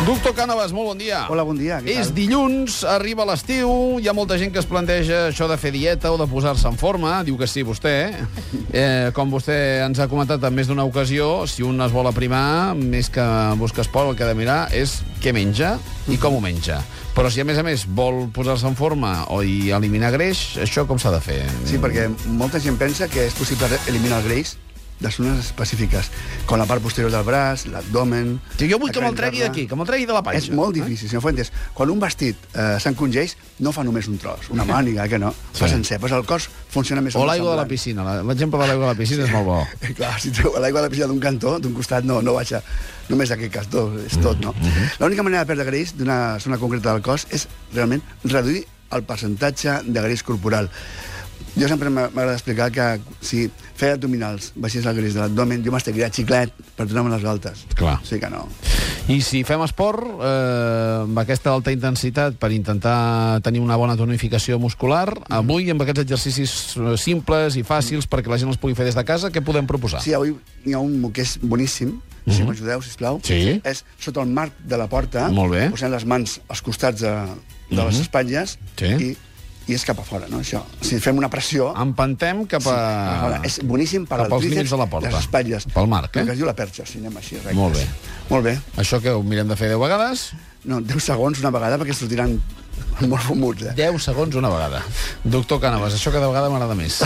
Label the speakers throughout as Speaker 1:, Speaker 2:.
Speaker 1: Doctor Cànovas, molt bon dia.
Speaker 2: Hola, bon dia. Què
Speaker 1: Ah. És
Speaker 2: tal?
Speaker 1: dilluns, arriba l'estiu, hi ha molta gent que es planteja això de fer dieta o de posar-se en forma, diu que sí vostè. Eh, com vostè ens ha comentat en més d'una ocasió, si un es vol aprimar, més que busca esport, el que ha de mirar és què menja i com ho menja. Però si, a més a més, vol posar-se en forma o i eliminar greix, això com s'ha de fer?
Speaker 2: Sí, perquè molta gent pensa que és possible eliminar el greix de zones específiques, com la part posterior del braç, l'abdomen...
Speaker 1: Tio, jo vull
Speaker 2: la
Speaker 1: que me'l
Speaker 2: cara
Speaker 1: tregui
Speaker 2: interna.
Speaker 1: d'aquí, eh? que me'l tregui de la pàgina.
Speaker 2: És molt difícil, senyor Fuentes. Quan un vestit eh, s'encongeix, no fa només un tros, una màniga, eh, que no. Fa
Speaker 1: Sí.
Speaker 2: sencer, però el cos funciona més...
Speaker 1: O
Speaker 2: o menys
Speaker 1: l'aigua de la
Speaker 2: semblant.
Speaker 1: piscina. la- L'exemple de l'aigua de la piscina és molt bo.
Speaker 2: Eh, Clar, si treu l'aigua de la piscina d'un cantó, d'un costat, no, no baixa. Només d'aquest cantó, és tot, no? L'única manera de perdre greix d'una zona concreta del cos és, realment, reduir el percentatge de greix corporal. Jo sempre m'ha- m'agrada explicar que si feia abdominals, baixés el greix de l'abdomen, jo m'esticaria xiclet per donar-me les galtes.
Speaker 1: Clar.
Speaker 2: O sigui que no.
Speaker 1: I si fem esport, eh, amb aquesta alta intensitat per intentar tenir una bona tonificació muscular, avui amb aquests exercicis eh, simples i fàcils perquè la gent els pugui fer des de casa, què podem proposar?
Speaker 2: Sí, avui n'hi ha un que és boníssim, si m'ajudeu, sisplau.
Speaker 1: Mhm. Sí.
Speaker 2: És sota el marc de la porta.
Speaker 1: Molt bé. Mhm.
Speaker 2: Posem les mans als costats de, de les espatlles
Speaker 1: Sí.
Speaker 2: i, i és cap a fora, no, això? Si fem una pressió...
Speaker 1: Empantem cap
Speaker 2: Sí,
Speaker 1: a...
Speaker 2: cap a fora. És boníssim per
Speaker 1: Ah. cap
Speaker 2: al
Speaker 1: als
Speaker 2: tríceps,
Speaker 1: límits de la porta.
Speaker 2: les espatlles.
Speaker 1: Pel marc, eh?
Speaker 2: El que es diu la perxa, si anem així rectes.
Speaker 1: Molt bé.
Speaker 2: Molt bé.
Speaker 1: Això que ho mirem de fer 10 vegades,
Speaker 2: No, 10 segons una vegada perquè sortiran molt fumuts, eh?
Speaker 1: 10 segons una vegada. Doctor Cànovas, això cada vegada m'agrada més.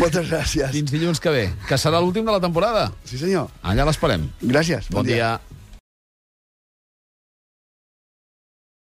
Speaker 2: Moltes gràcies.
Speaker 1: Fins dilluns que ve, que serà l'últim de la temporada.
Speaker 2: Sí, senyor.
Speaker 1: Allà l'esperem.
Speaker 2: Gràcies.
Speaker 1: Bon dia.